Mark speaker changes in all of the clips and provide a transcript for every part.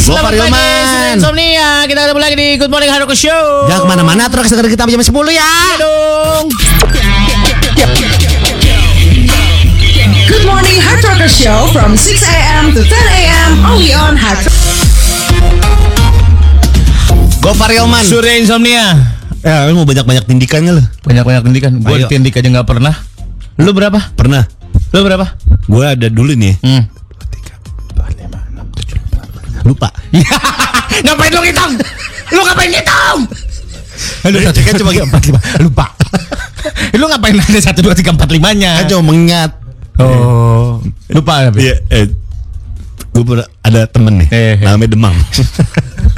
Speaker 1: Selamat
Speaker 2: Bokor
Speaker 1: pagi,
Speaker 2: Hilman.
Speaker 1: Susan Insomnia. Kita ketemu lagi di Good Morning Haruko Show. Iya
Speaker 2: Jangan Ya, kemana-mana terus dengerin kita jam 10 ya.
Speaker 1: dong.
Speaker 3: Good morning, Hard Rocker Show from 6 a.m. to 10 a.m. only on Hard
Speaker 2: Gopar Hilman.
Speaker 1: Surya Insomnia.
Speaker 2: Ya, lu mau banyak-banyak tindikan nggak lu?
Speaker 1: Banyak-banyak kan? tindikan. Gue
Speaker 2: Ayo.
Speaker 1: ditindik aja nggak pernah. Lu berapa?
Speaker 2: Pernah.
Speaker 1: Lu berapa?
Speaker 2: Gue ada dulu nih.
Speaker 1: Hmm.
Speaker 2: Lupa.
Speaker 1: ngapain lu ngitung? Lu ngapain ngitung?
Speaker 2: Aduh, kan cuma 4 5. Lupa.
Speaker 1: lu ngapain ada satu dua tiga empat
Speaker 2: Kan
Speaker 1: limanya?
Speaker 2: cuma mengingat.
Speaker 1: Oh, lupa tapi.
Speaker 2: Iya, eh gue pernah ada temen nih,
Speaker 1: Eh, eh.
Speaker 2: namanya Demang.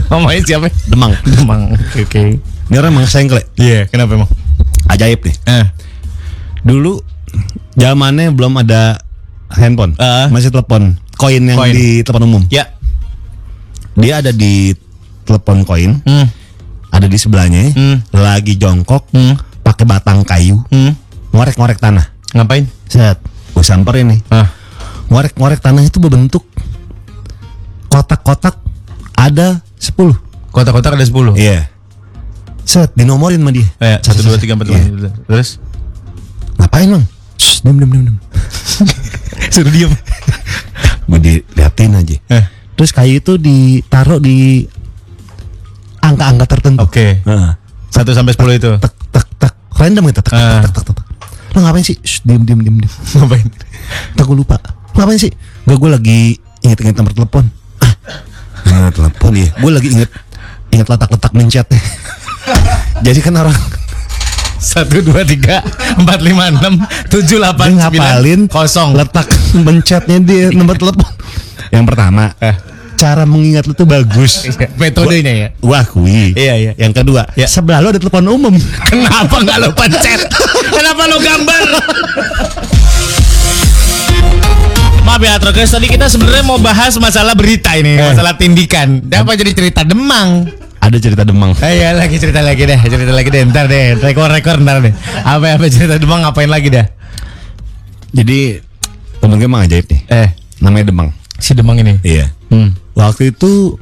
Speaker 1: Ngomongin siapa?
Speaker 2: Demang.
Speaker 1: Demang. Oke.
Speaker 2: Ini orang Mang Sengkle.
Speaker 1: Iya, kenapa emang?
Speaker 2: Ajaib nih.
Speaker 1: Eh,
Speaker 2: Dulu zamannya belum ada handphone,
Speaker 1: Ah.
Speaker 2: masih telepon koin yang
Speaker 1: Koin.
Speaker 2: di telepon umum.
Speaker 1: ya.
Speaker 2: Dia ada di telepon koin,
Speaker 1: Hmm.
Speaker 2: ada di sebelahnya,
Speaker 1: Hmm.
Speaker 2: lagi jongkok,
Speaker 1: Hmm.
Speaker 2: pakai batang kayu,
Speaker 1: Hmm.
Speaker 2: ngorek-ngorek tanah.
Speaker 1: Ngapain?
Speaker 2: Set, gue samperin nih.
Speaker 1: Ah.
Speaker 2: Ngorek-ngorek tanah itu berbentuk kotak-kotak ada 10
Speaker 1: Kotak-kotak ada 10.
Speaker 2: Iya. Set, dinomorin sama dia.
Speaker 1: Eh,
Speaker 2: Set,
Speaker 1: satu
Speaker 2: set,
Speaker 1: dua
Speaker 2: set.
Speaker 1: tiga empat
Speaker 2: Iya.
Speaker 1: lima. Terus?
Speaker 2: Ngapain bang? Shh, diam diam diam diam.
Speaker 1: Suruh diem.
Speaker 2: Gue diliatin aja.
Speaker 1: Eh.
Speaker 2: Terus kayu itu ditaruh di angka-angka tertentu.
Speaker 1: Oke.
Speaker 2: Heeh.
Speaker 1: Satu sampai sepuluh itu.
Speaker 2: Tek tek tek. Random gitu. Tek
Speaker 1: Ah.
Speaker 2: tek tek tek tek. Lo ngapain sih? Shh, diam diam diam diam.
Speaker 1: Ngapain?
Speaker 2: Ntar gue lupa. Ngapain sih? Gak gue lagi inget-inget nomor telepon. Ah, Nomor telepon ya. Gue lagi inget inget letak-letak mencetnya. Jadi kan orang
Speaker 1: Satu dua tiga empat lima enam tujuh
Speaker 2: dia
Speaker 1: delapan
Speaker 2: ngapalin
Speaker 1: sembilan kosong.
Speaker 2: letak mencetnya dia nomor telepon. Yang pertama, Iya.
Speaker 1: Eh.
Speaker 2: cara mengingat lu tuh bagus.
Speaker 1: Metodenya ya.
Speaker 2: Wah, kui.
Speaker 1: Iya, iya.
Speaker 2: Yang kedua,
Speaker 1: Iya.
Speaker 2: sebelah lu ada telepon umum.
Speaker 1: Kenapa nggak lo pencet? Kenapa lo gambar? Maaf ya Trokes, tadi kita sebenarnya mau bahas masalah berita ini, masalah tindikan. Dapat jadi cerita Demang.
Speaker 2: ada cerita Demang.
Speaker 1: Ayo Eh, iya, lagi cerita lagi deh, cerita lagi deh, ntar deh, rekor-rekor ntar deh. Apa-apa cerita Demang ngapain lagi dah?
Speaker 2: Jadi temen gue emang ajaib nih.
Speaker 1: Eh,
Speaker 2: Namanya Demang.
Speaker 1: si Demang ini.
Speaker 2: Iya.
Speaker 1: Hmm,
Speaker 2: Waktu itu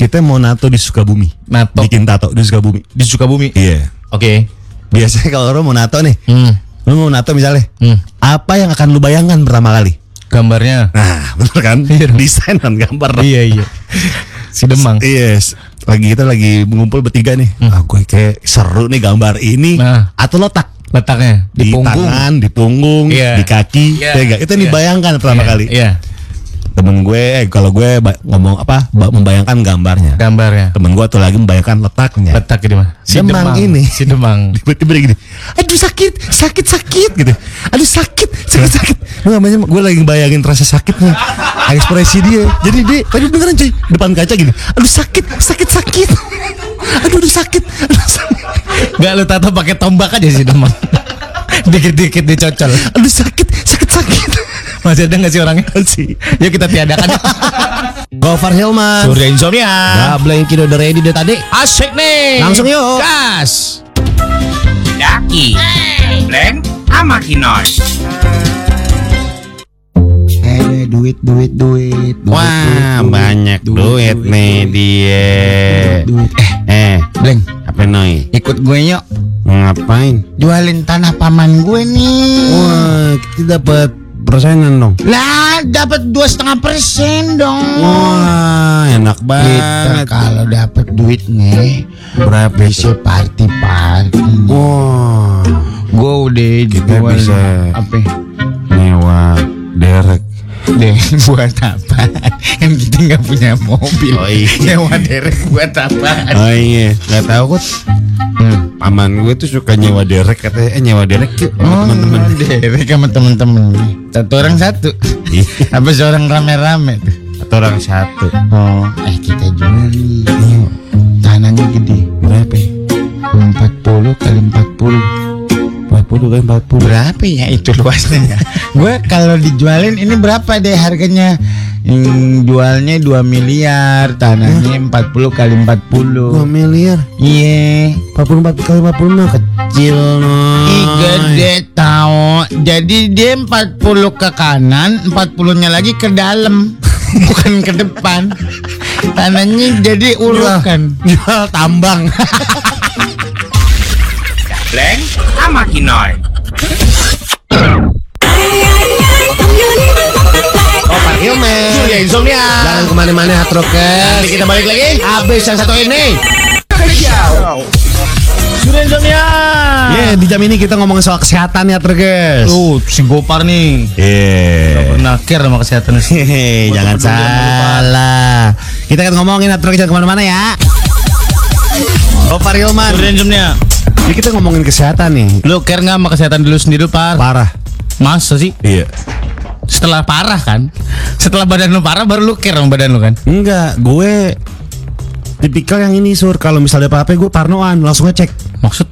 Speaker 2: kita mau nato di Sukabumi.
Speaker 1: Nato.
Speaker 2: Bikin tato di Sukabumi.
Speaker 1: Di Sukabumi.
Speaker 2: Iya.
Speaker 1: Oke.
Speaker 2: Biasanya kalau lu mau nato nih,
Speaker 1: Hmm.
Speaker 2: lu mau nato misalnya,
Speaker 1: Hmm.
Speaker 2: apa yang akan lu bayangkan pertama kali?
Speaker 1: Gambarnya.
Speaker 2: Nah, bener kan? Desain dan gambar.
Speaker 1: iya iya. Si Demang. Hmm.
Speaker 2: Yes. Lagi kita lagi mengumpul bertiga nih. Ah, gue kayak seru nih gambar ini.
Speaker 1: Nah.
Speaker 2: Atau letak
Speaker 1: Letaknya
Speaker 2: di,
Speaker 1: di, punggung.
Speaker 2: tangan, di punggung,
Speaker 1: Iya.
Speaker 2: di kaki.
Speaker 1: Iya.
Speaker 2: ya nggak? Itu yang
Speaker 1: Iya.
Speaker 2: dibayangkan pertama
Speaker 1: Iya,
Speaker 2: kali.
Speaker 1: Iya.
Speaker 2: Temen gue, eh, kalau gue ba- ngomong apa, ba- membayangkan gambarnya.
Speaker 1: Gambarnya.
Speaker 2: Temen gue tuh lagi membayangkan letaknya.
Speaker 1: Letak di mana? Si
Speaker 2: Demang ini.
Speaker 1: Si Demang.
Speaker 2: tiba-tiba dia gini aduh sakit sakit sakit gitu aduh sakit sakit sakit gue namanya gue lagi bayangin rasa sakitnya ekspresi dia jadi dia tadi beneran cuy depan kaca gini aduh sakit sakit sakit aduh aduh sakit aduh sakit
Speaker 1: Gak lu tato pakai tombak aja si Demang. Dikit-dikit dicocol.
Speaker 2: aduh sakit sakit sakit
Speaker 1: Masih ada gak sih orangnya?
Speaker 2: sih
Speaker 1: Yuk kita tiadakan.
Speaker 2: Gofar Hilman Ah,
Speaker 1: Surya Insomnia.
Speaker 2: Gabla yang kido udah ready deh tadi
Speaker 1: Asik nih.
Speaker 2: Langsung yuk.
Speaker 1: Gas.
Speaker 4: Daki, Blank, sama Kinos.
Speaker 5: Eh duit duit duit. duit
Speaker 2: Wah banyak duit nih dia
Speaker 5: duit.
Speaker 2: Eh
Speaker 5: Bleng,
Speaker 2: apa noy
Speaker 5: ikut gue yuk
Speaker 2: Ngapain
Speaker 5: jualin tanah paman gue nih.
Speaker 2: Wah Eh, kita dapat persenan dong
Speaker 5: Lah, dapat dua setengah persen dong.
Speaker 2: Wah, enak
Speaker 5: Kita
Speaker 2: banget.
Speaker 5: kalau dapat duit nih,
Speaker 2: Berapa itu?
Speaker 5: bisa party party.
Speaker 2: Wah,
Speaker 5: Gue udah
Speaker 2: Kita
Speaker 5: jual
Speaker 2: bisa.
Speaker 5: apa? ya?
Speaker 2: mewah, derek.
Speaker 5: Deh, buat apa? Kan kita nggak punya mobil.
Speaker 2: Oh, iya.
Speaker 5: Nyewa derek buat apa?
Speaker 2: Oh iya, Hmm. nggak tahu kok. Paman gue tuh suka nyewa derek katanya eh, nyewa derek yuk sama teman-teman.
Speaker 5: Oh, derek sama teman-teman. Satu orang satu.
Speaker 2: Ih,
Speaker 5: Apa seorang rame-rame tuh?
Speaker 2: Atau orang satu.
Speaker 5: Oh, eh kita jual nih. Ayo, Oh, tanahnya gede. ya?
Speaker 2: Berapa?
Speaker 5: 40 kali 40.
Speaker 2: Empat puluh kan empat puluh.
Speaker 5: Berapa ya itu luasnya ya? Gue kalau dijualin ini berapa deh harganya? Hmm, jualnya 2 miliar, tanahnya 40 kali 40.
Speaker 2: miliar.
Speaker 5: Iya.
Speaker 2: Empat puluh empat kali empat puluh mah kecil noy.
Speaker 5: Ih gede tau Jadi dia 40 ke kanan 40 nya lagi ke dalam bukan ke depan tanahnya jadi urukan
Speaker 2: Jual tambang.
Speaker 4: Bleng sama Kinoy.
Speaker 2: Oh, Pak Hilman.
Speaker 1: Julia Insomnia.
Speaker 2: Jangan kemana-mana, Hard Rockers.
Speaker 1: Nanti kita balik lagi.
Speaker 2: Habis yang satu ini.
Speaker 1: Julia Insomnia.
Speaker 2: Yeah, di jam ini kita ngomongin soal kesehatan ya, Trukes.
Speaker 1: Tuh, si Gopar nih.
Speaker 2: Yeah.
Speaker 1: Pernah care sama kesehatan sih.
Speaker 2: Hehehe, Eh. jangan salah. Kita akan ngomongin Hard Rockers jangan kemana-mana ya. Oh, Pak Hilman.
Speaker 1: Julia Insomnia.
Speaker 2: Jadi kita ngomongin kesehatan nih.
Speaker 1: Lu care nggak sama kesehatan dulu sendiri, Par?
Speaker 2: Parah.
Speaker 1: Masa sih?
Speaker 2: Iya.
Speaker 1: Setelah parah kan? Setelah badan lu parah baru lu care sama badan lu kan?
Speaker 2: Enggak, gue tipikal yang ini sur kalau misalnya apa-apa gue parnoan langsung ngecek
Speaker 1: Maksud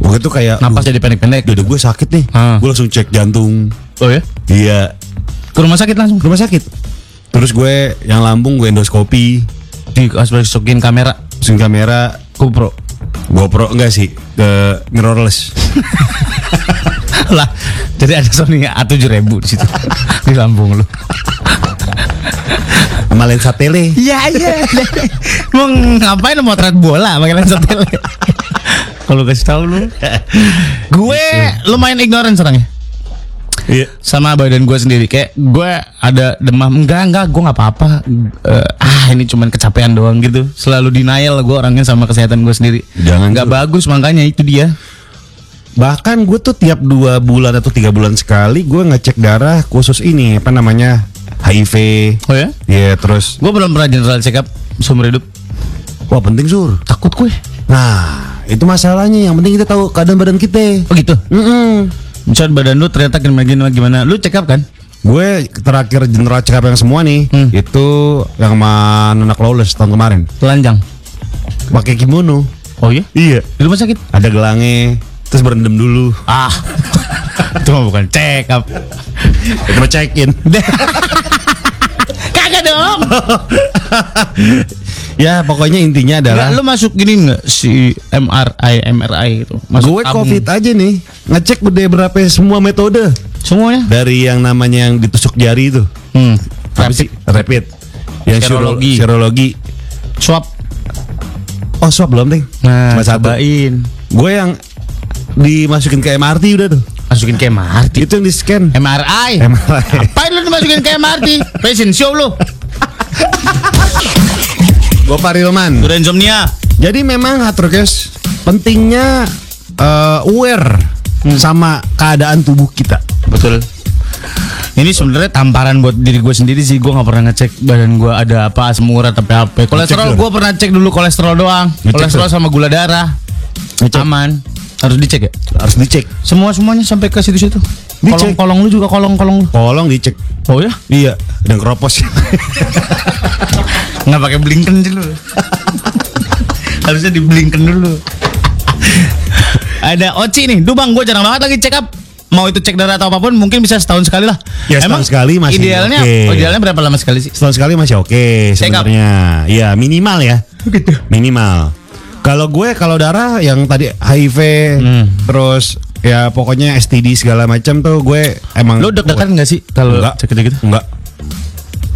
Speaker 2: gue tuh kayak
Speaker 1: napas jadi pendek-pendek.
Speaker 2: dada gue sakit nih
Speaker 1: Ah.
Speaker 2: gue langsung cek jantung
Speaker 1: Oh ya?
Speaker 2: iya
Speaker 1: Ke rumah sakit langsung.
Speaker 2: rumah sakit terus gue yang lambung gue endoskopi
Speaker 1: Di asbaksokin kamera
Speaker 2: langsung kamera
Speaker 1: GoPro.
Speaker 2: GoPro enggak sih ke mirrorless
Speaker 1: lah, jadi ada Sony A tujuh ribu di situ di lambung lu.
Speaker 2: sama lensa tele
Speaker 1: Iya iya. Mau ngapain lu motret bola pakai lensa tele? Kalau kasih tahu lu, gue lumayan ignorant sekarang ya
Speaker 2: iya
Speaker 1: sama badan gue sendiri kayak gue ada demam enggak enggak gue nggak apa-apa Eh, ah ini cuman kecapean doang gitu selalu denial gue orangnya sama kesehatan gue sendiri
Speaker 2: Jangan,
Speaker 1: nggak
Speaker 2: Ju.
Speaker 1: bagus makanya itu dia
Speaker 2: bahkan gue tuh tiap dua bulan atau tiga bulan sekali gue ngecek darah khusus ini apa namanya HIV
Speaker 1: oh ya
Speaker 2: Iya terus
Speaker 1: gue belum pernah general check up seumur hidup
Speaker 2: wah penting sur
Speaker 1: takut gue
Speaker 2: nah itu masalahnya yang penting kita tahu keadaan badan kita
Speaker 1: oh gitu
Speaker 2: Mm-mm.
Speaker 1: misal badan lu ternyata gimana gimana gimana lu check up kan
Speaker 2: Gue terakhir general check up yang semua nih
Speaker 1: Hmm.
Speaker 2: Itu yang sama anak lawless tahun kemarin
Speaker 1: telanjang
Speaker 2: pakai kimono
Speaker 1: oh iya
Speaker 2: Iya
Speaker 1: di rumah sakit
Speaker 2: Ada gelangnya Terus berendam dulu
Speaker 1: ah itu mah bukan check up
Speaker 2: Itu mah check in
Speaker 1: kagak dong
Speaker 2: Ya pokoknya intinya
Speaker 1: Nggak,
Speaker 2: adalah
Speaker 1: lu masuk gini nggak si MRI MRI itu masuk
Speaker 2: Gue
Speaker 1: tabung.
Speaker 2: covid aja nih Ngecek udah berapa semua metode
Speaker 1: semuanya
Speaker 2: Dari yang namanya yang ditusuk jari itu
Speaker 1: Hmm.
Speaker 2: Apa sih? Rapid Yang siro-
Speaker 1: Serologi.
Speaker 2: serologi
Speaker 1: Swab.
Speaker 2: Oh swab belum Teng
Speaker 1: Nah,
Speaker 2: Cuma satu
Speaker 1: cobain.
Speaker 2: Gue yang dimasukin ke MRT udah tuh
Speaker 1: Masukin ke MRT.
Speaker 2: Itu yang di scan
Speaker 1: MRI.
Speaker 2: MRI
Speaker 1: Ngapain lu dimasukin ke MRT? Fashion show lu.
Speaker 2: Gue Parilman
Speaker 1: Udah insomnia.
Speaker 2: Jadi memang Hatrokes pentingnya eh, aware sama keadaan tubuh kita.
Speaker 1: Betul. Ini sebenarnya tamparan buat diri gue sendiri sih. Gue nggak pernah ngecek badan gue ada apa, asam urat apa apa. Kolesterol
Speaker 2: dulu.
Speaker 1: gue pernah cek dulu kolesterol doang.
Speaker 2: Ngecek
Speaker 1: kolesterol
Speaker 2: dulu.
Speaker 1: sama gula darah.
Speaker 2: Ngecek.
Speaker 1: Aman. Harus dicek ya.
Speaker 2: Harus dicek.
Speaker 1: Semua semuanya sampai ke situ situ.
Speaker 2: Dicek.
Speaker 1: Kolong-kolong lu juga kolong-kolong. lu.
Speaker 2: Tolong dicek.
Speaker 1: Oh ya?
Speaker 2: Iya, dan keropos.
Speaker 1: Nggak pakai blinken dulu. Harusnya di blinken dulu. Ada Oci nih, duh bang, gue jarang banget lagi check up. Mau itu cek darah atau apapun, mungkin bisa setahun sekali lah.
Speaker 2: Ya, setahun sekali masih
Speaker 1: Idealnya,
Speaker 2: oke.
Speaker 1: oh, idealnya berapa lama sekali sih?
Speaker 2: Setahun sekali masih oke
Speaker 1: Check up.
Speaker 2: sebenarnya. Iya, minimal ya. Minimal. Kalau gue kalau darah yang tadi HIV Hmm. terus ya pokoknya STD segala macam tuh gue emang
Speaker 1: Lo deg-degan nggak sih kalau
Speaker 2: Enggak.
Speaker 1: cek gitu?
Speaker 2: Enggak.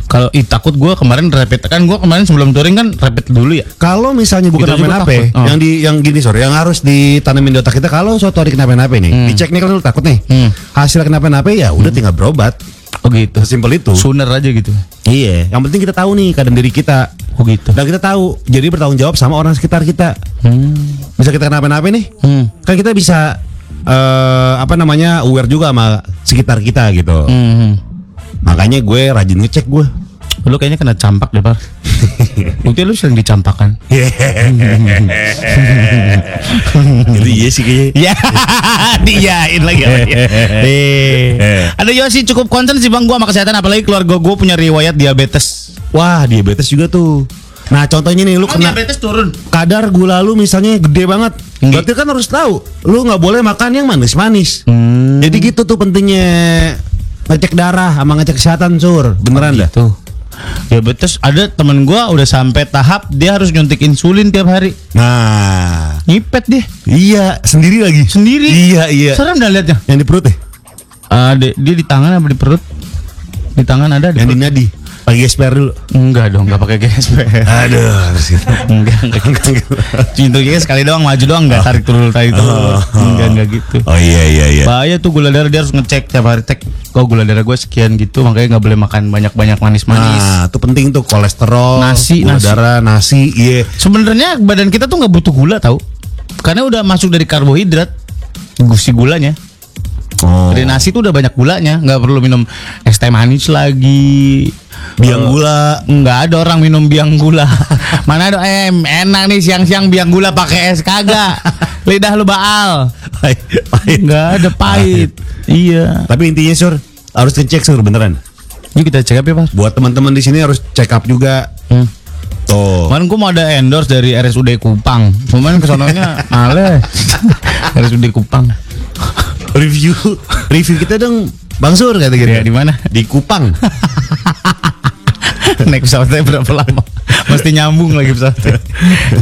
Speaker 1: Kalau ih, takut gue kemarin rapid kan gue kemarin sebelum touring kan rapid dulu ya.
Speaker 2: Kalau misalnya gue
Speaker 1: Itu aja
Speaker 2: kenapa
Speaker 1: gua
Speaker 2: napa
Speaker 1: takut. Oh.
Speaker 2: yang di yang gini sorry, yang harus ditanamin di otak kita kalau suatu hari kenapa napa nih, dicek nih kan lu takut nih.
Speaker 1: Hmm.
Speaker 2: Hasil kenapa napa ya udah tinggal berobat.
Speaker 1: Oh gitu.
Speaker 2: Sesimpel itu.
Speaker 1: Sooner aja gitu.
Speaker 2: iya, yang penting kita tahu nih keadaan diri kita.
Speaker 1: Oh gitu.
Speaker 2: Dan kita tahu, jadi bertanggung jawab sama orang sekitar kita.
Speaker 1: Hmm.
Speaker 2: Bisa kita kenapa napa nih?
Speaker 1: Hmm.
Speaker 2: Kan kita bisa eh apa namanya? aware juga sama sekitar kita gitu.
Speaker 1: Hmm.
Speaker 2: Makanya gue rajin ngecek gue.
Speaker 1: Lu kayaknya kena campak deh, Pak. Bukti lu sering dicampakan. Hmm.
Speaker 2: Jadi iya sih kayaknya.
Speaker 1: Ya, diyain lagi. sama dia.
Speaker 2: Eh.
Speaker 1: Eh. Ada Iya. Yosi cukup concern sih bang gua sama kesehatan apalagi keluarga gua punya riwayat diabetes.
Speaker 2: Wah, diabetes juga tuh. Nah, contohnya nih lu kena
Speaker 1: diabetes turun?
Speaker 2: kadar gula lu misalnya gede banget
Speaker 1: Nggih.
Speaker 2: berarti kan harus tahu lu nggak boleh makan yang manis-manis jadi gitu tuh pentingnya ngecek darah sama ngecek kesehatan sur beneran dah
Speaker 1: Tuh. Diabetes ada temen gua udah sampai tahap dia harus nyuntik insulin tiap hari.
Speaker 2: nah
Speaker 1: Ngipet dia
Speaker 2: iya sendiri lagi
Speaker 1: sendiri.
Speaker 2: iya iya
Speaker 1: Serem dah liatnya.
Speaker 2: yang di perut ya
Speaker 1: Ah, di- dia di tangan apa di perut? Di tangan ada di
Speaker 2: yang di
Speaker 1: perut.
Speaker 2: nadi Pakai gesper dulu.
Speaker 1: Enggak dong, enggak pakai gesper.
Speaker 2: Aduh, harus gitu.
Speaker 1: Enggak, enggak gitu. Oh. Pintunya sekali doang maju doang enggak tarik turun tarik turun. Enggak, enggak gitu.
Speaker 2: Oh iya iya iya.
Speaker 1: Bahaya tuh gula darah dia harus ngecek tiap hari cek kok gula darah gue sekian gitu makanya nggak boleh makan banyak-banyak manis-manis.
Speaker 2: Nah, itu penting tuh kolesterol,
Speaker 1: Nasi,
Speaker 2: gula
Speaker 1: nasi.
Speaker 2: darah, nasi, iya.
Speaker 1: Sebenarnya badan kita tuh nggak butuh gula tau karena udah masuk dari karbohidrat gusi gulanya.
Speaker 2: Oh.
Speaker 1: Dari nasi tuh udah banyak gulanya, nggak perlu minum es teh manis lagi.
Speaker 2: Biang gula.
Speaker 1: Nggak ada orang minum biang gula. Mana ada em enak nih siang-siang biang gula pakai es kagak. Lidah lu baal.
Speaker 2: Pahit, pahit.
Speaker 1: Nggak ada pahit. Iya.
Speaker 2: Tapi intinya sur harus ngecek sur beneran.
Speaker 1: Yuk kita cek apa ya, Pak?
Speaker 2: Buat teman-teman di sini harus check up juga.
Speaker 1: Hmm.
Speaker 2: Tuh.
Speaker 1: Kemarin gue mau ada endorse dari RSUD Kupang. Cuman kesononya males. RSUD Kupang.
Speaker 2: Review review kita dong Bang Sur kata gitu.
Speaker 1: Ya, di mana?
Speaker 2: Di Kupang.
Speaker 1: Naik pesawatnya berapa lama? Mesti nyambung lagi pesawatnya.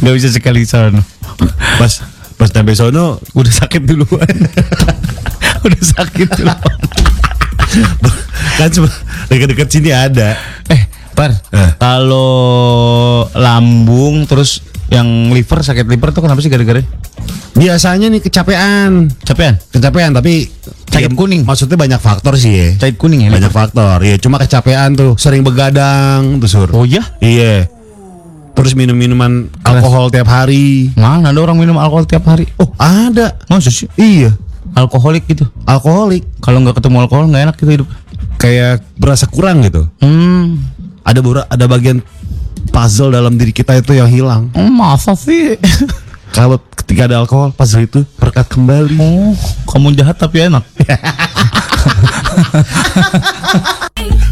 Speaker 1: Gak bisa sekali sono.
Speaker 2: pas pas sampai sono
Speaker 1: Udah sakit duluan. Udah sakit duluan.
Speaker 2: kan cuma dekat-dekat sini ada.
Speaker 1: Eh, Par.
Speaker 2: Eh.
Speaker 1: Kalau lambung terus yang liver sakit liver tuh kenapa sih gara-gara?
Speaker 2: Biasanya nih kecapean.
Speaker 1: Capean?
Speaker 2: Kecapean tapi ya,
Speaker 1: Sakit kuning.
Speaker 2: Maksudnya banyak faktor sih ya.
Speaker 1: Cait kuning ya?
Speaker 2: Banyak faktor. Iya, cuma kecapean tuh, sering begadang tuh sur.
Speaker 1: Oh iya?
Speaker 2: Iya. Terus minum-minuman alkohol tiap hari.
Speaker 1: Mana ada orang minum alkohol tiap hari?
Speaker 2: Oh, ada.
Speaker 1: Masa sih?
Speaker 2: Iya,
Speaker 1: Alkoholik gitu.
Speaker 2: alkoholik.
Speaker 1: Kalau nggak ketemu alkohol nggak enak gitu hidup.
Speaker 2: Kayak berasa kurang gitu.
Speaker 1: Hmm,
Speaker 2: Ada bora- ada bagian puzzle dalam diri kita itu yang hilang.
Speaker 1: Hmm, masa sih?
Speaker 2: Kalau ketika ada alkohol, puzzle itu berkat kembali.
Speaker 1: Oh, kamu jahat tapi enak.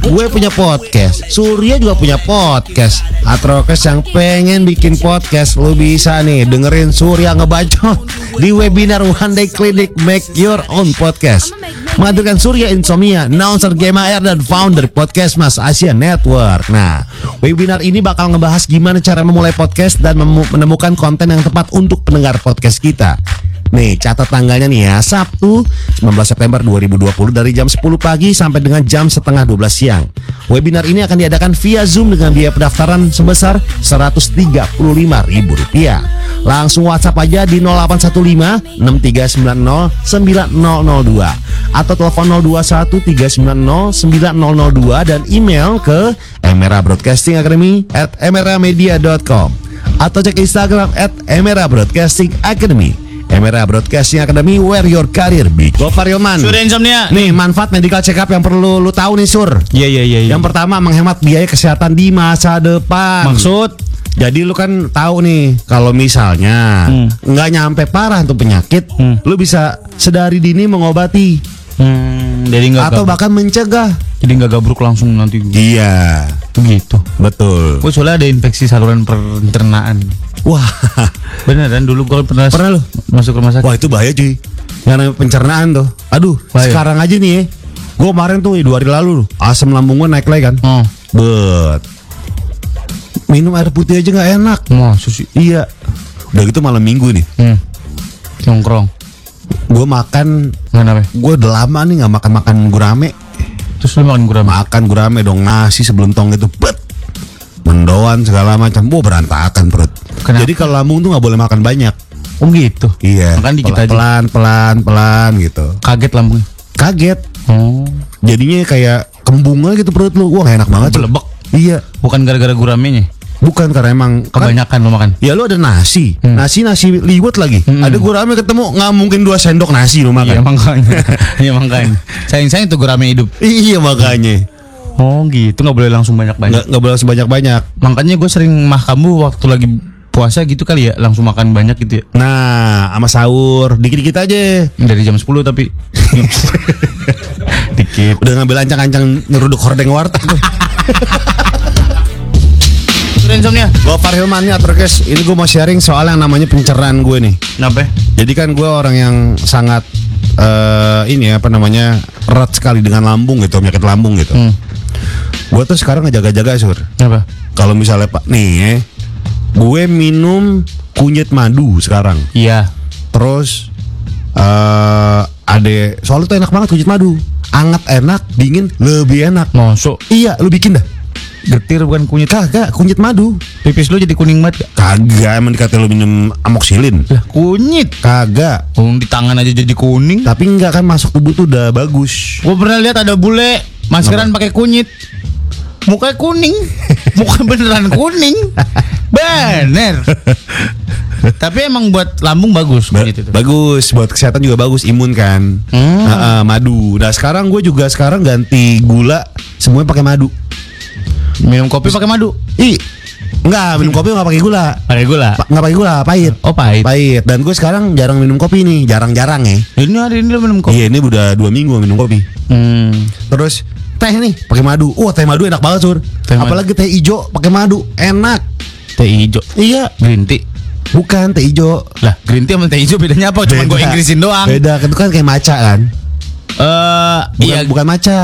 Speaker 2: Gue punya podcast, Surya juga punya podcast. Atrokes yang pengen bikin podcast, lu bisa nih dengerin Surya ngebacot di webinar One Day Clinic Make Your Own Podcast. Menghadirkan Surya Insomnia, announcer Game AR dan founder podcast Mas Asia Network. Nah, webinar ini bakal ngebahas gimana cara memulai podcast dan memu- menemukan konten yang tepat untuk pendengar podcast kita. Nih, catat tanggalnya nih ya. Sabtu, 19 September 2020 dari jam 10 pagi sampai dengan jam setengah 12 siang. Webinar ini akan diadakan via Zoom dengan biaya pendaftaran sebesar Rp135.000. Langsung WhatsApp aja di 0815 6390 9002 atau telepon 021 390 9002 dan email ke Emera Broadcasting Academy at emeramedia.com atau cek Instagram at Emera Broadcasting Academy. Emera Broadcasting Academy Where Your Career Big Gofar Yoman
Speaker 1: insomnia.
Speaker 2: Nih manfaat medical check up yang perlu lu tahu nih Sur
Speaker 1: Iya iya iya.
Speaker 2: Yang pertama menghemat biaya kesehatan di masa depan
Speaker 1: Maksud?
Speaker 2: Jadi lu kan tahu nih kalau misalnya
Speaker 1: Hmm.
Speaker 2: nggak nyampe parah tuh penyakit Lu bisa sedari dini mengobati
Speaker 1: Hmm, jadi nggak
Speaker 2: Atau
Speaker 1: gabr-
Speaker 2: bahkan mencegah
Speaker 1: jadi nggak gabruk langsung nanti
Speaker 2: Iya
Speaker 1: begitu.
Speaker 2: betul
Speaker 1: Gue Oh, soalnya ada infeksi saluran pencernaan.
Speaker 2: Wah
Speaker 1: Beneran dulu gue pernah
Speaker 2: Pernah lu?
Speaker 1: masuk rumah sakit.
Speaker 2: Wah itu bahaya cuy Yang namanya pencernaan tuh Aduh
Speaker 1: Bahaya.
Speaker 2: sekarang aja nih ya Gue kemarin tuh ya, dua hari lalu Asam lambung gue naik lagi kan
Speaker 1: Oh,
Speaker 2: Bet. Minum air putih aja nggak enak.
Speaker 1: maksud sih.
Speaker 2: Iya. Udah gitu malam minggu nih.
Speaker 1: Hmm. Nongkrong.
Speaker 2: Gue makan.
Speaker 1: Kenapa?
Speaker 2: Gue udah lama nih nggak makan makan gurame.
Speaker 1: Terus lu makan gurame?
Speaker 2: Makan gurame dong nasi sebelum tong itu. Bet. Mendoan segala macam. Wah berantakan perut.
Speaker 1: Kenapa?
Speaker 2: Jadi kalau lambung tuh nggak boleh makan banyak.
Speaker 1: Oh gitu.
Speaker 2: Iya.
Speaker 1: Makan dikit
Speaker 2: pelan,
Speaker 1: aja.
Speaker 2: Pelan pelan pelan gitu.
Speaker 1: Kaget lambungnya.
Speaker 2: Kaget.
Speaker 1: Oh.
Speaker 2: Jadinya kayak kembungan gitu perut lu. Wah nggak enak banget. cuy.
Speaker 1: Belebek.
Speaker 2: Iya.
Speaker 1: Bukan gara-gara guramenya.
Speaker 2: Bukan karena emang kan
Speaker 1: Kebanyakan lu makan.
Speaker 2: Ya lu ada nasi, nasi nasi liwet lagi. Ada gurame ketemu nggak mungkin dua sendok nasi lu makan.
Speaker 1: Iya makanya. Iya makanya. Sayang-sayang tuh gurame hidup.
Speaker 2: Iya, makanya
Speaker 1: Oh gitu, nggak boleh langsung banyak-banyak.
Speaker 2: nggak nggak boleh sebanyak banyak.
Speaker 1: Makanya gue sering mah kamu waktu lagi puasa gitu kali ya, langsung makan banyak gitu ya.
Speaker 2: Nah, sama sahur dikit dikit aja.
Speaker 1: Dari jam 10 tapi dikit.
Speaker 2: Udah ngambil ancang-ancang nyeruduk hordeng warteg tuh.
Speaker 1: Ransomnya.
Speaker 2: gue Hilman nih guys, ini gue mau sharing soal yang namanya pencernaan gue nih.
Speaker 1: Kenapa?
Speaker 2: Jadi kan gue orang yang sangat eh ini ya, apa namanya erat sekali dengan lambung gitu, penyakit lambung gitu. Gue tuh sekarang ngejaga-jaga sur.
Speaker 1: Kenapa?
Speaker 2: Kalau misalnya Pak nih, eh, gue minum kunyit madu sekarang.
Speaker 1: Iya.
Speaker 2: Terus eh ada soalnya tuh enak banget kunyit madu. Anget enak, dingin lebih enak.
Speaker 1: Masuk.
Speaker 2: Iya, lu bikin dah.
Speaker 6: Getir bukan kunyit.
Speaker 2: Kagak kunyit madu.
Speaker 6: Pipis lu jadi kuning banget. gak?
Speaker 2: Kagak emang dikata lu minum amoksilin.
Speaker 5: Iya.
Speaker 6: Lah kunyit.
Speaker 2: Kagak.
Speaker 5: Oh, di tangan aja jadi kuning.
Speaker 2: Tapi enggak kan masuk tubuh tuh udah bagus.
Speaker 5: Gue pernah lihat ada bule maskeran pakai kunyit. Mukanya kuning. Muka beneran kuning. Bener. Tapi emang buat lambung bagus
Speaker 2: Ba-
Speaker 5: kunyit itu.
Speaker 2: Bagus buat kesehatan juga bagus imun kan. Ah, ah, madu. Nah sekarang gue juga sekarang ganti gula semuanya pakai madu.
Speaker 5: Minum kopi pakai madu.
Speaker 2: Ih Enggak, minum kopi nggak pakai gula.
Speaker 5: Pakai gula.
Speaker 2: Pa- Nggak pakai gula, pahit.
Speaker 5: Oh, pahit.
Speaker 2: Pahit. Dan gue sekarang jarang minum kopi nih, jarang-jarang ya.
Speaker 5: Ini hari ini lu minum kopi.
Speaker 2: Iya, ini udah dua minggu gua minum kopi.
Speaker 5: Hmm.
Speaker 2: Terus teh nih pakai madu. Wah, teh madu enak banget, Sur.
Speaker 5: Teh madu.
Speaker 2: Apalagi teh ijo pakai madu, enak.
Speaker 5: Teh hijau.
Speaker 2: Iya,
Speaker 5: Green tea.
Speaker 2: bukan teh ijo.
Speaker 5: Lah, green tea sama teh hijau bedanya apa? Cuman gue
Speaker 2: Beda.
Speaker 5: Inggrisin doang. Eh,
Speaker 2: Beda, itu kan kayak maca kan? Bukan,
Speaker 5: iya, bukan,
Speaker 2: bukan maca.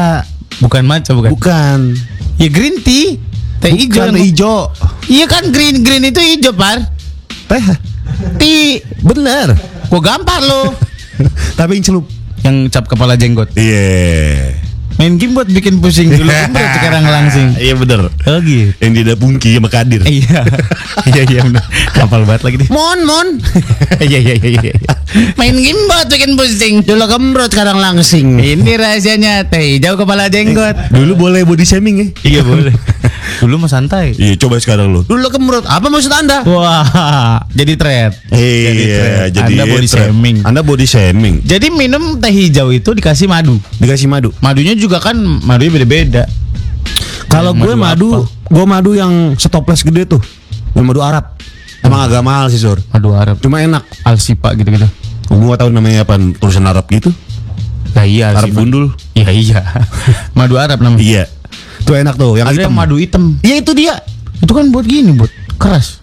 Speaker 5: maca, bukan.
Speaker 2: Bukan.
Speaker 5: ya green tea. Teh hijau.
Speaker 2: Bukan
Speaker 5: yang-
Speaker 2: teh ijo.
Speaker 5: Iya kan green green itu hijau, Par. Eh.
Speaker 2: Teh.
Speaker 5: Tea.
Speaker 2: Bener.
Speaker 5: Gue gampar lo.
Speaker 2: Tapi yang celup.
Speaker 5: yang cap kepala jenggot.
Speaker 2: Iya.
Speaker 5: Main game buat bikin pusing dulu Jembret sekarang langsing.
Speaker 2: Iya bener.
Speaker 5: Oh gitu.
Speaker 2: Yang tidak pungki sama Kadir.
Speaker 5: Iya. Iya iya benar. Kapal banget lagi deh.
Speaker 2: Mon, mon.
Speaker 5: Iya iya iya iya. Main game buat bikin pusing.
Speaker 2: Dulu gembrot sekarang langsing.
Speaker 5: Ini rahasianya teh hijau kepala jenggot.
Speaker 2: Dulu boleh body shaming ya?
Speaker 5: iya boleh. Dulu mah santai.
Speaker 2: Iya, coba sekarang lu. Dulu gembrot. Apa maksud Anda?
Speaker 5: Wah, jadi thread.
Speaker 2: Iya,
Speaker 5: Jadi Anda body
Speaker 2: trend.
Speaker 5: shaming.
Speaker 2: Anda body shaming.
Speaker 5: Jadi minum teh hijau itu dikasih madu.
Speaker 2: Dikasih madu.
Speaker 5: Madunya juga kan madunya beda-beda.
Speaker 2: Kalau
Speaker 5: Madu
Speaker 2: gue madu,
Speaker 5: apa?
Speaker 2: gue madu yang setoples gede tuh. Yang madu Arab. Emang agak mahal sih, Sur.
Speaker 5: Madu Arab,
Speaker 2: Cuma enak.
Speaker 5: alsipa gitu-gitu.
Speaker 2: Gue gak tahu namanya apa, tulisan Arab gitu.
Speaker 5: Nah, iya,
Speaker 2: Arab
Speaker 5: alsipa.
Speaker 2: gundul.
Speaker 5: Iya iya. Madu Arab namanya.
Speaker 2: Iya. Tuh enak tuh, yang
Speaker 5: Ada
Speaker 2: hitam.
Speaker 5: yang madu hitam.
Speaker 2: Iya, itu dia.
Speaker 5: Itu kan buat gini, buat keras.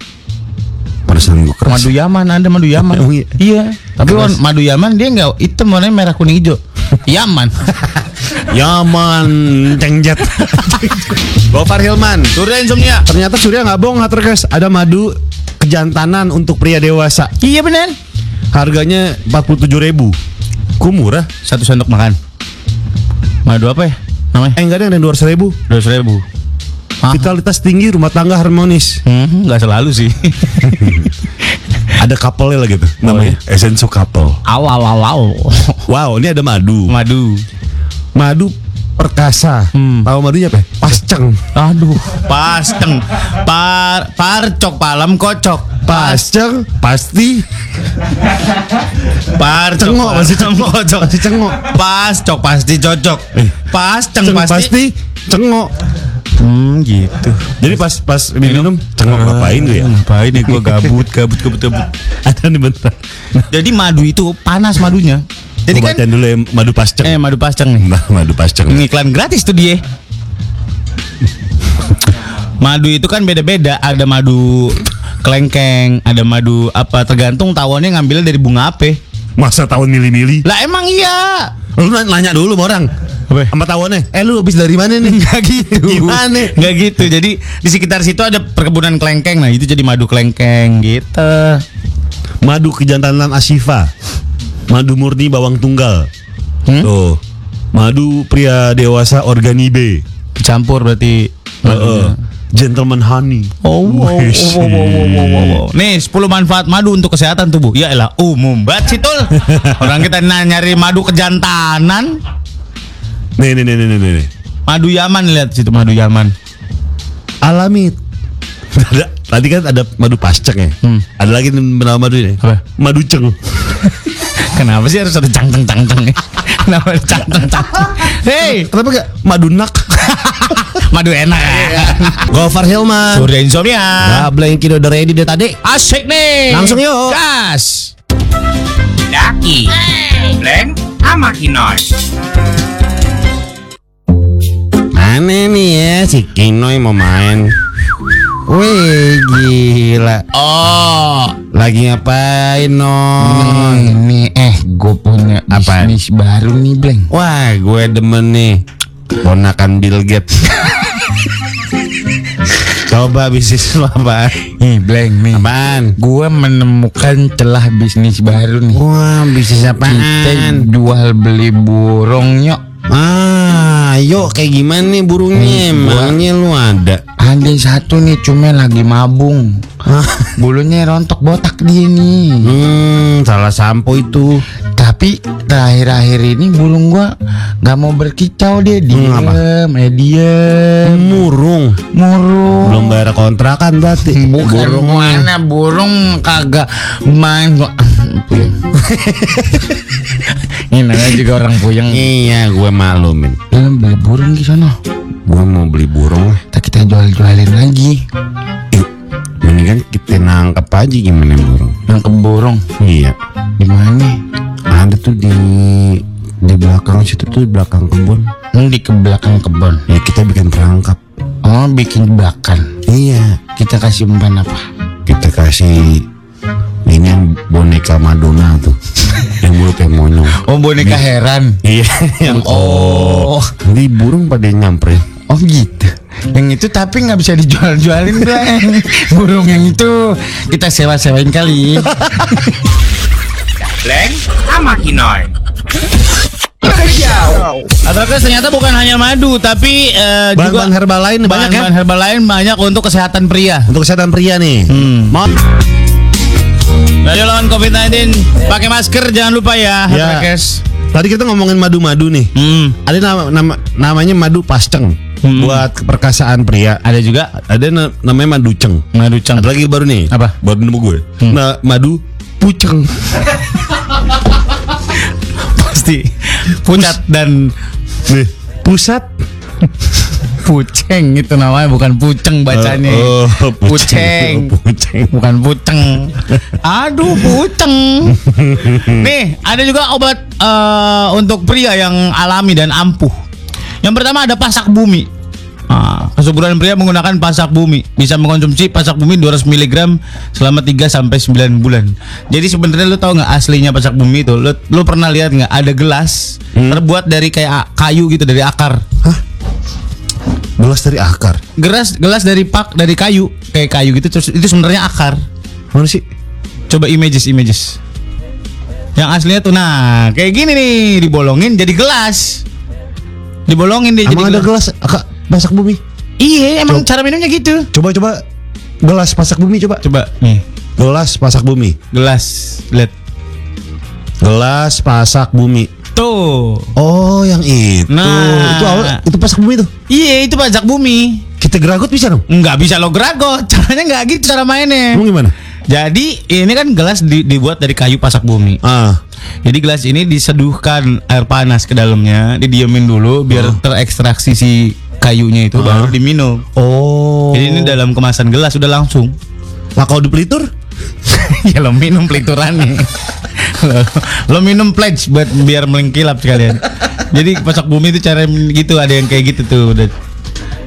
Speaker 2: Panasan gue keras.
Speaker 5: Madu Yaman, Anda madu Yaman.
Speaker 2: Emang iya?
Speaker 5: iya. Tapi
Speaker 2: Keras.
Speaker 5: wan- madu Yaman dia nggak hitam warnanya merah kuning hijau. Yaman.
Speaker 2: Yaman, cengjet. Gofar Hilman.
Speaker 5: Surya insomnia.
Speaker 2: Ternyata Surya nggak bohong, Hatterkes. Ada madu kejantanan untuk pria dewasa.
Speaker 5: Iya benar.
Speaker 2: Harganya 47.000 ribu. Ku murah.
Speaker 5: Satu sendok makan. Madu apa ya? Namanya?
Speaker 2: Eh enggak ada yang dua ribu.
Speaker 5: Dua ribu.
Speaker 2: Vitalitas tinggi, rumah tangga harmonis.
Speaker 5: Hmm, nggak selalu sih.
Speaker 2: Ada couple lah gitu namanya. Esensu couple.
Speaker 5: aw aw aw aw.
Speaker 2: Wow, ini ada madu.
Speaker 5: Madu.
Speaker 2: Madu perkasa.
Speaker 5: Hmm.
Speaker 2: Tahu madunya apa? ya? Pasceng.
Speaker 5: Aduh, pasteng. Par parcok palam kocok.
Speaker 2: Pasceng pasti
Speaker 5: Par
Speaker 2: Cengok, masih cengok.
Speaker 5: kocok.
Speaker 2: Masih cengok.
Speaker 5: Pas cok pasti cocok. Pas ceng
Speaker 2: ceng
Speaker 5: pasti.
Speaker 2: pasti cengok.
Speaker 5: Hmm gitu.
Speaker 2: Jadi pas pas minum, cengok ngapain lu ya?
Speaker 5: Ngapain ya gua gabut, gabut, gabut, gabut.
Speaker 2: Ada nih bentar.
Speaker 5: Jadi madu itu panas madunya. Jadi
Speaker 2: Jadi
Speaker 5: kan
Speaker 2: dulu ya madu pasceng.
Speaker 5: eh madu pasceng nih.
Speaker 2: Nah, madu pasceng.
Speaker 5: Ngiklan gratis tuh dia. Madu itu kan beda-beda, ada madu kelengkeng, ada madu apa tergantung tawonnya ngambilnya dari bunga apa.
Speaker 2: Masa tahun milih-milih?
Speaker 5: Lah emang iya.
Speaker 2: Lu nanya dulu sama orang.
Speaker 5: Apa?
Speaker 2: Sama tawonnya. Eh lu habis dari mana nih?
Speaker 5: Enggak gitu.
Speaker 2: Gimana?
Speaker 5: Enggak gitu. Jadi di sekitar situ ada perkebunan kelengkeng. Nah, itu jadi madu kelengkeng gitu.
Speaker 2: Madu kejantanan Asifa. Madu murni bawang tunggal.
Speaker 5: Hmm?
Speaker 2: Tuh. Madu pria dewasa organi B.
Speaker 5: Dicampur berarti
Speaker 2: Heeh. Gentleman honey.
Speaker 5: Oh, wow, wow,
Speaker 2: Wih,
Speaker 5: wow, wow, wow, wow, wow, wow. Nih 10 manfaat madu untuk kesehatan tubuh Ya elah umum banget sih Tul Orang kita na- nyari madu kejantanan
Speaker 2: Nih nih nih nih nih, nih. nih.
Speaker 5: Madu Yaman lihat situ madu Yaman
Speaker 2: Alami. Ada- Tadi kan ada madu pasceng ya.
Speaker 5: Hmm.
Speaker 2: Ada lagi nama madu ini.
Speaker 5: Apa?
Speaker 2: Madu ceng.
Speaker 5: Kenapa sih harus ada cang cang cang cang Kenapa ada cang cang cang Hei
Speaker 2: Kenapa gak madu nak?
Speaker 5: madu enak
Speaker 2: Gofar Hilman.
Speaker 5: Surya insomnia
Speaker 2: Ah, Blanky udah ready deh tadi.
Speaker 5: Asik nih
Speaker 2: Langsung yuk.
Speaker 5: Gas
Speaker 4: Daki, Blank, sama Kinoy.
Speaker 2: Mana nih ya si Kinoy mau main? Wih Eh, gila
Speaker 5: Oh
Speaker 2: Lagi ngapain non?
Speaker 5: Ini eh gue punya
Speaker 2: Apaan?
Speaker 5: bisnis baru nih Bleng
Speaker 2: Wah gue demen nih Ponakan Bill Gates Coba bisnis lo apaan?
Speaker 5: Nih Bleng nih
Speaker 2: Apaan?
Speaker 5: Gue menemukan celah bisnis baru nih
Speaker 2: Wah bisnis
Speaker 5: Kita jual beli burung nyok
Speaker 2: Ah Ayo kayak gimana nih burungnya Emangnya lu ada
Speaker 5: Ada satu nih cuma lagi mabung Bulunya rontok botak dia nih
Speaker 2: Hmm salah sampo itu
Speaker 5: Tapi terakhir-akhir ini bulung gua nggak mau berkicau dia Diem,
Speaker 2: apa?
Speaker 5: eh diem
Speaker 2: Murung
Speaker 5: Murung
Speaker 2: Belum bayar kontrakan berarti
Speaker 5: Bukan
Speaker 2: Burung
Speaker 5: mana
Speaker 1: Nah,
Speaker 5: burung kagak main kok. Puyeng. Ini namanya juga orang puyeng.
Speaker 2: Iya gue maklumin
Speaker 5: Lu Eh, beli burung di sana.
Speaker 2: Gue mau beli burung lah
Speaker 5: Kita, kita jual-jualin lagi.
Speaker 2: Mendingan kita nangkep aja gimana burung
Speaker 5: Nangkep burung
Speaker 2: Iya
Speaker 5: di mana?
Speaker 2: Ada tuh di di belakang situ tuh di belakang kebun
Speaker 5: Lu di ke belakang kebun.
Speaker 2: ya kita bikin perangkap
Speaker 5: Oh, bikin jebakan.
Speaker 2: iya
Speaker 5: Kita kasih umpan apa?
Speaker 2: kita kasih ini yang boneka Madonna tuh yang mulut yang monyong
Speaker 5: Oh, boneka heran.
Speaker 2: iya yang oh di burung pada nyamperin
Speaker 5: Oh gitu. Yang itu tapi nggak bisa dijual-jualin, Bang. burung yang itu kita sewa-sewain
Speaker 1: Ya.
Speaker 5: kali.
Speaker 4: Bleng sama Kinoy.
Speaker 1: Atrakas ternyata bukan hanya madu tapi eh, juga
Speaker 2: bahan-bahan herbal lain
Speaker 5: kan?
Speaker 2: banyak ya
Speaker 1: bahan-bahan herbal lain banyak untuk kesehatan pria.
Speaker 2: untuk kesehatan pria nih mau
Speaker 1: Radio lawan COVID-19 pakai masker jangan lupa
Speaker 5: Iya,
Speaker 1: ya.
Speaker 2: Ya.
Speaker 1: Atrakas.
Speaker 2: tadi kita ngomongin madu-madu nih
Speaker 1: Hmm.
Speaker 2: ada nama, nama- namanya madu pasceng
Speaker 1: Hmm.
Speaker 2: buat perkasaan pria
Speaker 1: Ada juga
Speaker 2: ada na- namanya madu ceng
Speaker 1: madu cang.
Speaker 2: ada lagi baru nih
Speaker 1: Apa?
Speaker 2: baru nemu gue nah, madu puceng
Speaker 1: Pasti pucat dan
Speaker 2: nih pusat
Speaker 1: puceng itu namanya bukan puceng bacanya.
Speaker 2: Oh, oh,
Speaker 1: puceng.
Speaker 2: puceng
Speaker 1: Bukan puceng. Aduh, puceng. Nih, ada juga obat eh, untuk pria yang alami dan ampuh. Yang pertama ada pasak bumi. Ah, kesuburan pria menggunakan pasak bumi. Bisa mengkonsumsi pasak bumi 200 mg selama 3 sampai 9 bulan. Jadi sebenarnya lu tahu nggak aslinya pasak bumi itu? Lu, lu pernah lihat nggak ada gelas terbuat dari kayak a- kayu gitu dari akar?
Speaker 2: Belas dari akar.
Speaker 1: Gelas gelas dari pak dari kayu, kayak kayu gitu terus itu sebenarnya akar.
Speaker 2: Mana sih?
Speaker 1: Coba images images. Yang aslinya tuh nah kayak gini nih dibolongin jadi gelas. Dibolongin dia
Speaker 2: Emang ada
Speaker 1: jadi
Speaker 2: gelas akak pasak bumi?
Speaker 1: Iya, emang
Speaker 2: Coba.
Speaker 1: cara minumnya gitu.
Speaker 2: Coba coba gelas pasak bumi coba.
Speaker 1: Coba nih,
Speaker 2: Gelas pasak bumi.
Speaker 1: gelas. Lihat.
Speaker 2: Gelas pasak bumi.
Speaker 1: Tuh.
Speaker 2: Oh, yang itu.
Speaker 1: Nah.
Speaker 2: Itu awal- itu pasak bumi tuh.
Speaker 1: Iya, itu pajak bumi.
Speaker 2: Kita geragot bisa dong.
Speaker 1: Nggak bisa lo geragot, caranya nggak gitu cara mainnya.
Speaker 2: Emang gimana?
Speaker 1: Jadi ini kan gelas di- dibuat dari kayu pasak bumi.
Speaker 2: Ah.
Speaker 1: Jadi gelas ini diseduhkan air panas ke dalamnya, didiemin dulu biar terekstraksi si kayunya itu baru diminum.
Speaker 2: Oh.
Speaker 1: Jadi ini dalam kemasan gelas udah langsung.
Speaker 2: Lah kalau di pelitur?
Speaker 1: ya lo minum peliturannya. lo, lo minum pledge buat biar melengkilap sekalian. Jadi pasak bumi itu cara gitu ada yang kayak gitu tuh udah.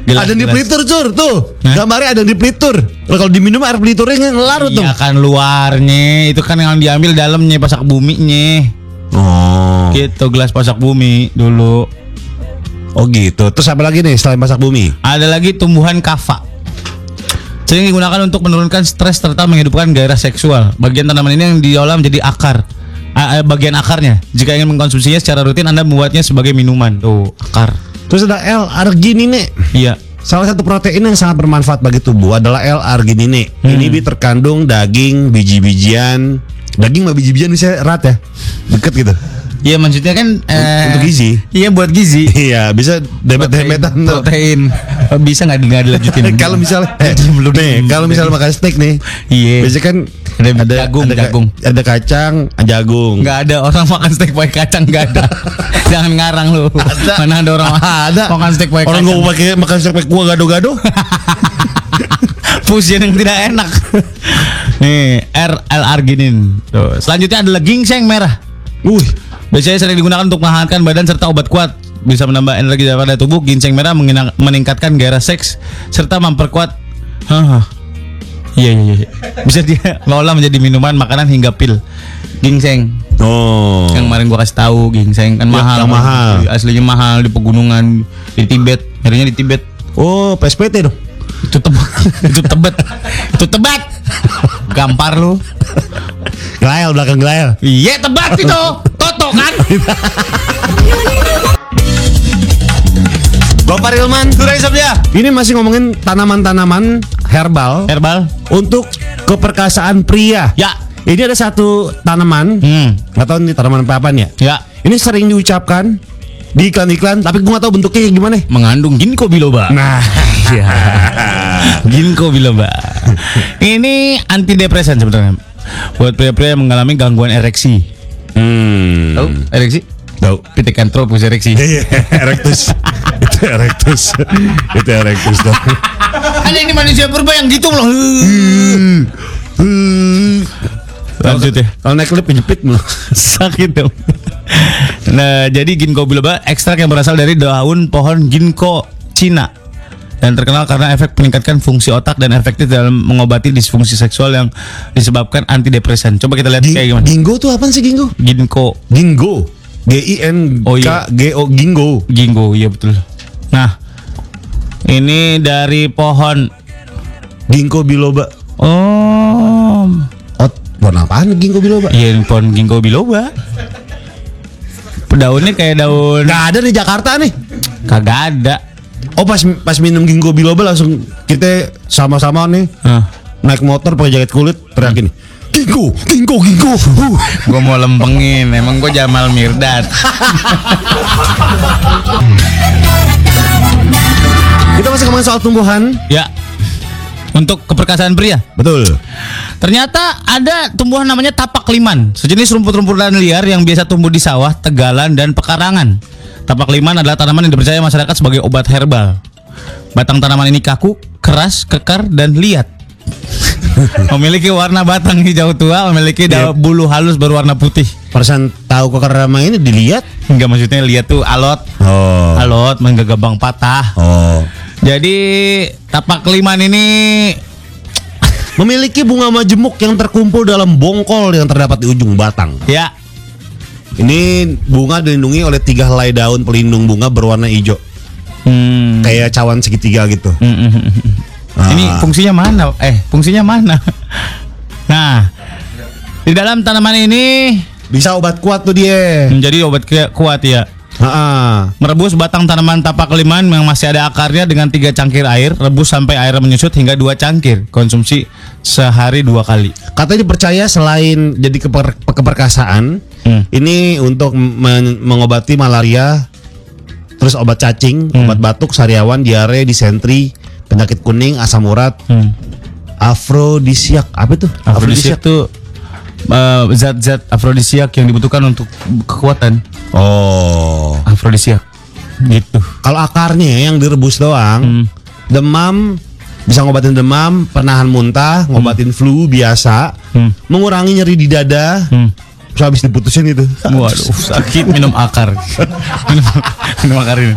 Speaker 1: Gelas-
Speaker 2: Ada yang di
Speaker 1: gelas.
Speaker 2: pelitur, Cur. Tuh.
Speaker 1: Hah?
Speaker 2: Gambarnya ada yang di pelitur. Lah kalau diminum air peliturnya nggak ngelarut dong.
Speaker 1: Iya kan luarnya itu kan yang diambil dalamnya pasak buminya.
Speaker 2: Oh.
Speaker 1: Gitu gelas pasak bumi dulu.
Speaker 2: Oh gitu. Terus apa lagi nih selain pasak bumi?
Speaker 1: Ada lagi tumbuhan kava. Sering digunakan untuk menurunkan stres serta menghidupkan gairah seksual. Bagian tanaman ini yang diolah menjadi akar. Ah, ah, bagian akarnya. Jika ingin mengkonsumsinya secara rutin Anda membuatnya sebagai minuman. Tuh, akar.
Speaker 2: Terus ada L-arginine. nih.
Speaker 1: Iya.
Speaker 2: Salah satu protein yang sangat bermanfaat bagi tubuh adalah L-arginine.
Speaker 1: Hmm.
Speaker 2: Ini bi terkandung daging, biji-bijian. Daging sama biji-bijian bisa erat ya. Deket gitu.
Speaker 1: Iya maksudnya kan eh,
Speaker 2: untuk gizi.
Speaker 1: Iya buat gizi.
Speaker 2: Iya, bisa debet-debetan tuh.
Speaker 1: Protein. Oh, Bisa nggak nggak dilanjutin?
Speaker 2: kalau misalnya eh,
Speaker 1: Belum
Speaker 2: nih, kalau misalnya makan steak nih.
Speaker 1: Iya.
Speaker 2: Biasanya kan
Speaker 1: Ada jagung,
Speaker 2: ada, ka-
Speaker 1: jagung.
Speaker 2: ada kacang, jagung.
Speaker 1: nggak ada orang makan steak pakai kacang nggak ada. Jangan ngarang lu. Mana ada orang
Speaker 2: Ada.
Speaker 1: makan steak pakai
Speaker 2: Orang
Speaker 1: kacang.
Speaker 2: gua mau pakai makan steak pakai kuah gado-gado.
Speaker 1: Fusion yang tidak enak. Nih, RL arginin. Tuh. Selanjutnya adalah ginseng merah.
Speaker 2: Wih,
Speaker 1: Biasanya sering digunakan untuk menghangatkan badan serta obat kuat. Bisa menambah energi daripada tubuh. Ginseng merah mengena- meningkatkan gairah seks serta memperkuat. Hah. Iya iya iya. Bisa dia mengolah menjadi minuman, makanan hingga pil. Ginseng
Speaker 2: Oh.
Speaker 1: yang kemarin gua kasih tahu ginseng kan mahal.
Speaker 2: Iya, yang mahal.
Speaker 1: Aslinya mahal di pegunungan di Tibet. Nyarinya di Tibet.
Speaker 2: Oh, PSPT dong.
Speaker 1: itu tebet itu tebet itu tebet gampar lu
Speaker 2: Glael belakang glael.
Speaker 1: iya tebet itu toto kan
Speaker 2: Pak Rilman
Speaker 5: Sudah Isap ya.
Speaker 2: Ini masih ngomongin tanaman-tanaman herbal
Speaker 5: Herbal.
Speaker 2: Untuk keperkasaan pria
Speaker 5: Ya.
Speaker 2: Ini ada satu tanaman
Speaker 5: Hmm.
Speaker 2: Gak tau ini tanaman apa ya
Speaker 5: Ya.
Speaker 2: Ini sering diucapkan Di iklan-iklan Tapi gue gak tau bentuknya kayak gimana
Speaker 5: Mengandung ginkgo biloba.
Speaker 2: Nah iya.
Speaker 5: Ginkgo biloba. Ini antidepresan sebenarnya. Buat pria-pria yang mengalami gangguan ereksi.
Speaker 2: Hmm
Speaker 5: Tahu? Ereksi?
Speaker 2: Tahu
Speaker 5: Pithecanthropus ereksi.
Speaker 2: Iya, erectus. itu erectus. itu erectus dong.
Speaker 5: Ada ini manusia purba yang gitu loh. Hmm. Lanjut ya.
Speaker 2: Kalau naik lift jepit mulu.
Speaker 5: Sakit dong. Nah, jadi ginkgo biloba ekstrak yang berasal dari daun pohon ginkgo Cina dan terkenal karena efek meningkatkan fungsi otak dan efektif dalam mengobati disfungsi seksual yang disebabkan antidepresan. Coba kita lihat kayak gimana.
Speaker 2: Gingo tuh apa sih Gingo?
Speaker 5: Ginkgo,
Speaker 2: Gingo. G I N
Speaker 5: Oh,
Speaker 2: K
Speaker 5: iya.
Speaker 2: G O Gingo.
Speaker 5: ginkgo, iya betul. Nah, ini dari pohon
Speaker 2: Gingo biloba.
Speaker 5: Oh,
Speaker 2: Ot, warna apaan Gingo biloba?
Speaker 5: iya ini pohon ginkgo biloba. Daunnya kayak daun
Speaker 2: Gak ada di Jakarta nih.
Speaker 5: kagak ada.
Speaker 2: Oh pas pas minum Gingo biloba langsung kita sama-sama nih
Speaker 5: Hah.
Speaker 2: naik motor pakai jaket kulit teriak ini. Gingo, Gingo, Gingo. Huh.
Speaker 5: gue mau lempengin emang gue Jamal Mirdad
Speaker 2: Kita masih ngomongin soal tumbuhan.
Speaker 5: ya untuk keperkasaan pria
Speaker 2: Betul.
Speaker 5: ternyata ada tumbuhan namanya tapak liman sejenis rumput-rumputan liar yang biasa tumbuh di sawah tegalan dan pekarangan tapak liman adalah tanaman yang dipercaya masyarakat sebagai obat herbal batang tanaman ini kaku keras kekar dan liat memiliki warna batang hijau tua memiliki
Speaker 2: Iya.
Speaker 5: daun bulu halus berwarna putih
Speaker 2: Persan tahu kekerama ini dilihat.
Speaker 5: Enggak maksudnya liat tuh alot
Speaker 2: Oh.
Speaker 5: alot menggagabang patah
Speaker 2: Oh.
Speaker 5: Jadi tapak liman ini
Speaker 2: Memiliki bunga majemuk yang terkumpul dalam bongkol yang terdapat di ujung batang.
Speaker 5: ya
Speaker 2: Ini bunga dilindungi oleh tiga helai daun pelindung bunga berwarna hijau,
Speaker 5: hmm,
Speaker 2: kayak cawan segitiga gitu.
Speaker 5: mm, mm, mm, mm. Ini
Speaker 2: Ah.
Speaker 5: fungsinya mana? Eh, fungsinya mana? Nah, di dalam tanaman ini
Speaker 2: Bisa obat kuat tuh dia. Ah.
Speaker 5: menjadi obat ke- kuat ya.
Speaker 2: Hmm. Ha-ha.
Speaker 5: Merebus batang tanaman tapak liman yang masih ada akarnya dengan tiga cangkir air, rebus sampai air menyusut hingga dua cangkir. Konsumsi sehari dua kali.
Speaker 2: Katanya dipercaya selain jadi keper- keperkasaan,
Speaker 5: Hmm.
Speaker 2: ini untuk men- mengobati malaria, terus obat cacing,
Speaker 5: Hmm.
Speaker 2: obat batuk, sariawan, diare, disentri, penyakit kuning, asam urat,
Speaker 5: Hmm.
Speaker 2: afrodisiak, apa itu?
Speaker 5: Afrodisiak tuh eh, zat-zat afrodisiak yang dibutuhkan untuk kekuatan.
Speaker 2: Oh.
Speaker 5: Afrodisiak. Gitu.
Speaker 2: Kalau akarnya ya, yang direbus
Speaker 5: Hmm.
Speaker 2: doang, demam bisa ngobatin demam, penahan muntah, ngobatin flu biasa,
Speaker 5: Hmm.
Speaker 2: mengurangi nyeri di dada.
Speaker 5: Hmm.
Speaker 2: Terus habis diputusin gitu. itu.
Speaker 5: Waduh, sakit minum akar. minum, minum akar ini.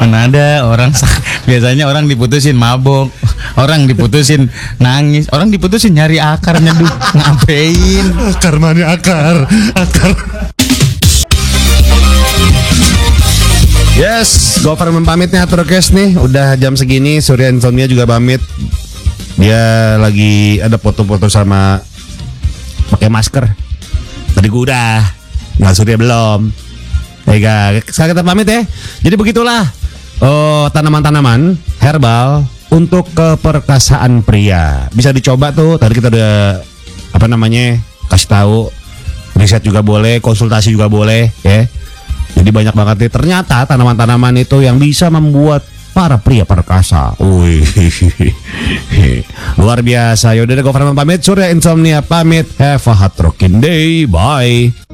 Speaker 5: Mana ada orang sak- biasanya orang diputusin mabok, orang diputusin nangis, orang diputusin nyari akar nyeduh. Ngapain?
Speaker 2: Akar mana akar, akar. Yes, Gofar mempamitnya Atrokes nih Udah jam segini, Surya Insomnia juga pamit Dia lagi ada foto-foto sama pakai masker Tadi gue udah, nggak Surya belum Ya, Baiklah, sekarang kita pamit ya Jadi begitulah oh, tanaman-tanaman herbal untuk keperkasaan pria Bisa dicoba tuh, tadi kita udah apa namanya kasih tahu riset juga boleh, konsultasi juga boleh ya jadi banyak banget nih ternyata tanaman-tanaman itu yang bisa membuat para pria perkasa. Wih. Luar biasa. Yaudah deh gue Farman pamit, Surya Insomnia pamit. Have a hot rocking day. Bye.